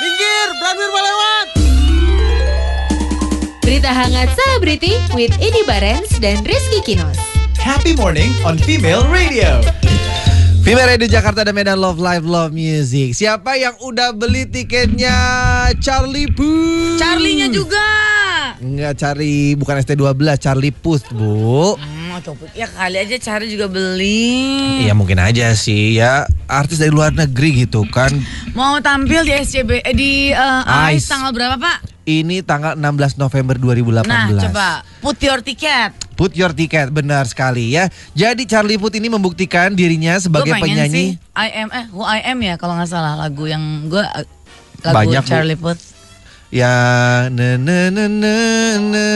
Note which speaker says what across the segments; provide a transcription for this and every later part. Speaker 1: Minggir, Branwir mau lewat.
Speaker 2: Berita hangat selebriti with Edi Barens dan Rizky Kinos.
Speaker 3: Happy morning on Female Radio.
Speaker 1: Female Radio Jakarta dan Medan Love Live Love Music. Siapa yang udah beli tiketnya Charlie Puth?
Speaker 4: Charlie-nya juga.
Speaker 1: Enggak cari bukan ST12, Charlie Puth, Bu.
Speaker 4: Hmm, coba ya kali aja cari juga beli.
Speaker 1: Iya mungkin aja sih ya artis dari luar negeri gitu kan.
Speaker 4: Mau tampil di SCB eh, di eh,
Speaker 1: Ice.
Speaker 4: ICE tanggal berapa, Pak?
Speaker 1: Ini tanggal 16 November 2018.
Speaker 4: Nah, coba put your ticket.
Speaker 1: Put your ticket benar sekali ya. Jadi Charlie Puth ini membuktikan dirinya
Speaker 4: Gue
Speaker 1: sebagai
Speaker 4: pengen sih
Speaker 1: penyanyi
Speaker 4: I am eh Who I am ya kalau nggak salah lagu yang gue lagu
Speaker 1: Banyak, Bu.
Speaker 4: Charlie Puth.
Speaker 1: ya ne ne ne ne ne.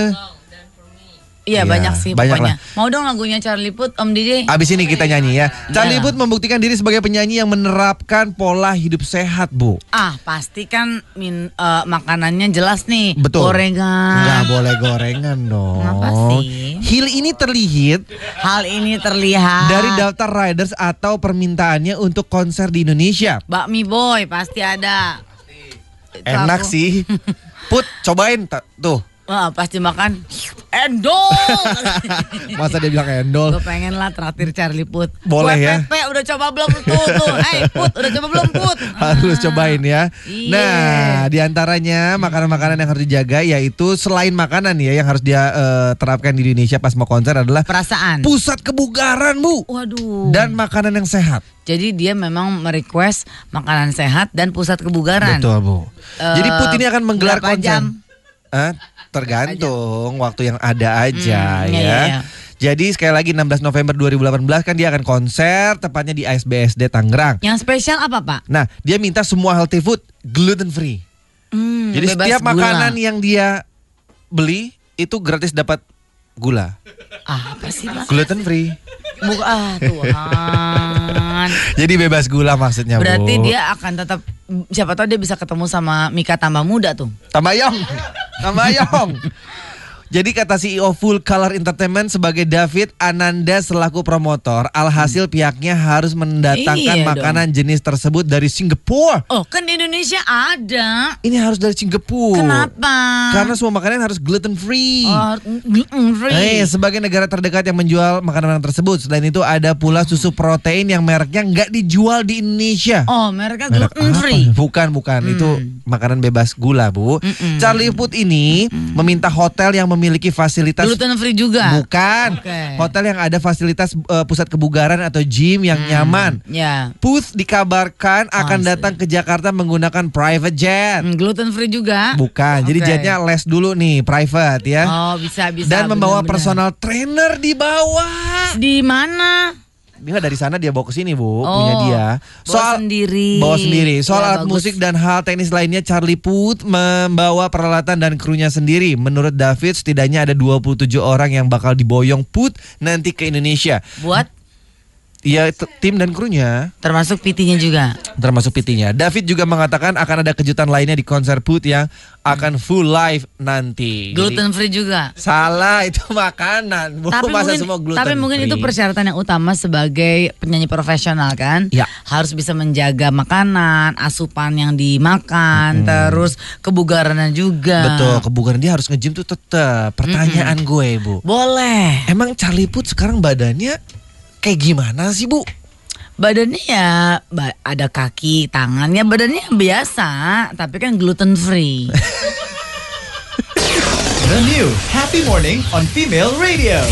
Speaker 1: Iya,
Speaker 4: Iya banyak sih
Speaker 1: banyak
Speaker 4: pokoknya. Mau dong lagunya Charlie Puth Om DJ.
Speaker 1: Abis ini kita nyanyi ya. Charlie
Speaker 4: Iya.
Speaker 1: Puth membuktikan diri sebagai penyanyi yang menerapkan pola hidup sehat, Bu.
Speaker 4: Ah pasti kan min, eh, makanannya jelas nih.
Speaker 1: Betul. Nggak
Speaker 4: Gorengan.
Speaker 1: boleh gorengan dong.
Speaker 4: Kenapa sih?
Speaker 1: Hill ini terlihat
Speaker 4: Hal ini terlihat.
Speaker 1: dari daftar riders atau permintaannya untuk konser di Indonesia.
Speaker 4: bakmi boy pasti ada. Itu
Speaker 1: Enak
Speaker 4: aku.
Speaker 1: sih. Put, cobain ta- tuh.
Speaker 4: Wah, pasti makan endol.
Speaker 1: Masa dia bilang endol?
Speaker 4: Gue pengen lah traktir Charlie Put.
Speaker 1: Boleh
Speaker 4: Kue
Speaker 1: ya.
Speaker 4: Pepe udah coba belum tuh tuh. Hey Put, udah coba belum Put?
Speaker 1: Harus
Speaker 4: Ah.
Speaker 1: cobain ya.
Speaker 4: Iya.
Speaker 1: Nah, diantaranya makanan-makanan yang harus dijaga yaitu selain makanan ya yang harus dia eh, terapkan di Indonesia pas mau konser adalah
Speaker 4: Perasaan.
Speaker 1: pusat kebugaran
Speaker 4: Hmm.
Speaker 1: bu
Speaker 4: Waduh.
Speaker 1: dan makanan yang sehat.
Speaker 4: Jadi dia memang merequest makanan sehat dan pusat kebugaran.
Speaker 1: Betul bu. Jadi Put ini akan menggelar
Speaker 4: Eh, berapa
Speaker 1: konser.
Speaker 4: jam?
Speaker 1: Hah? tergantung waktu yang ada aja
Speaker 4: Hmm,
Speaker 1: ya.
Speaker 4: iya, iya, iya.
Speaker 1: Jadi sekali lagi 16 November 2018 kan dia akan konser tepatnya di ASBSD Tangerang.
Speaker 4: Yang spesial apa pak?
Speaker 1: Nah, dia minta semua healthy food gluten free.
Speaker 4: Hmm,
Speaker 1: Jadi
Speaker 4: bebas
Speaker 1: setiap
Speaker 4: gula.
Speaker 1: makanan yang dia beli itu gratis dapat gula,
Speaker 4: Ah, apa sih pak?
Speaker 1: gluten free.
Speaker 4: Buka ah, Tuhan.
Speaker 1: Jadi bebas gula maksudnya, Ya,
Speaker 4: Berarti
Speaker 1: Bu.
Speaker 4: dia akan tetap siapa tahu dia bisa ketemu sama Mika tambah muda tuh.
Speaker 1: Tamayong. Tamayong. Jadi kata CEO Full Color Entertainment sebagai David Ananda selaku promotor, alhasil pihaknya harus mendatangkan
Speaker 4: Hmm. Iya dong.
Speaker 1: makanan jenis tersebut dari Singapura.
Speaker 4: Oh, kan di Indonesia ada.
Speaker 1: Ini harus dari Singapura.
Speaker 4: Kenapa?
Speaker 1: Karena semua makanan harus gluten free.
Speaker 4: Oh, gluten
Speaker 1: Eh,
Speaker 4: free.
Speaker 1: sebagai negara terdekat yang menjual makanan tersebut. Selain itu ada pula susu protein yang mereknya nggak dijual di Indonesia.
Speaker 4: Oh, mereka
Speaker 1: Merek
Speaker 4: gluten
Speaker 1: apa?
Speaker 4: free. Mm.
Speaker 1: Bukan, bukan. Itu makanan bebas gula, Bu. Charlie Puth ini meminta hotel yang memiliki fasilitas
Speaker 4: Gluten free juga.
Speaker 1: bukan.
Speaker 4: Oke.
Speaker 1: Hotel yang ada fasilitas eh, pusat kebugaran atau gym yang
Speaker 4: Mm.
Speaker 1: nyaman.
Speaker 4: Ya.
Speaker 1: Puth dikabarkan akan
Speaker 4: Masih.
Speaker 1: datang ke Jakarta menggunakan private jet.
Speaker 4: Oh, Mm, Gluten free juga.
Speaker 1: Bukan. Jadi
Speaker 4: Oke.
Speaker 1: jetnya les dulu nih, private ya.
Speaker 4: Oh, bisa bisa.
Speaker 1: Dan membawa
Speaker 4: benar-benar.
Speaker 1: personal trainer di bawah.
Speaker 4: Di mana?
Speaker 1: Bila dari sana dia bawa ke sini bu,
Speaker 4: Oh,
Speaker 1: punya dia.
Speaker 4: bawa sendiri.
Speaker 1: Bawa sendiri. Soal
Speaker 4: Ya,
Speaker 1: alat
Speaker 4: bagus.
Speaker 1: musik dan hal teknis lainnya, Charlie Puth membawa peralatan dan krunya sendiri. Menurut David, setidaknya ada 27 orang yang bakal diboyong Puth nanti ke Indonesia.
Speaker 4: Buat
Speaker 1: Ya t- tim dan krunya,
Speaker 4: termasuk PT-nya juga.
Speaker 1: termasuk PT-nya. David juga mengatakan akan ada kejutan lainnya di konser Puth yang akan full live nanti. Jadi,
Speaker 4: Gluten free juga.
Speaker 1: salah itu makanan. Bu,
Speaker 4: Tapi
Speaker 1: Oh, Masa
Speaker 4: mungkin,
Speaker 1: semua gluten
Speaker 4: tapi mungkin itu
Speaker 1: free?
Speaker 4: persyaratan yang utama sebagai penyanyi profesional kan,
Speaker 1: Ya.
Speaker 4: harus bisa menjaga makanan, asupan yang dimakan, terus kebugarannya juga.
Speaker 1: Betul, kebugaran dia harus nge-gym tuh tetap. Pertanyaan gue, Bu.
Speaker 4: Boleh.
Speaker 1: Emang Charlie Puth sekarang badannya kayak gimana sih, Bu?
Speaker 4: Badannya ya ba- ada kaki, tangannya badannya biasa, tapi kan gluten free.
Speaker 3: The new Happy Morning on Female Radio.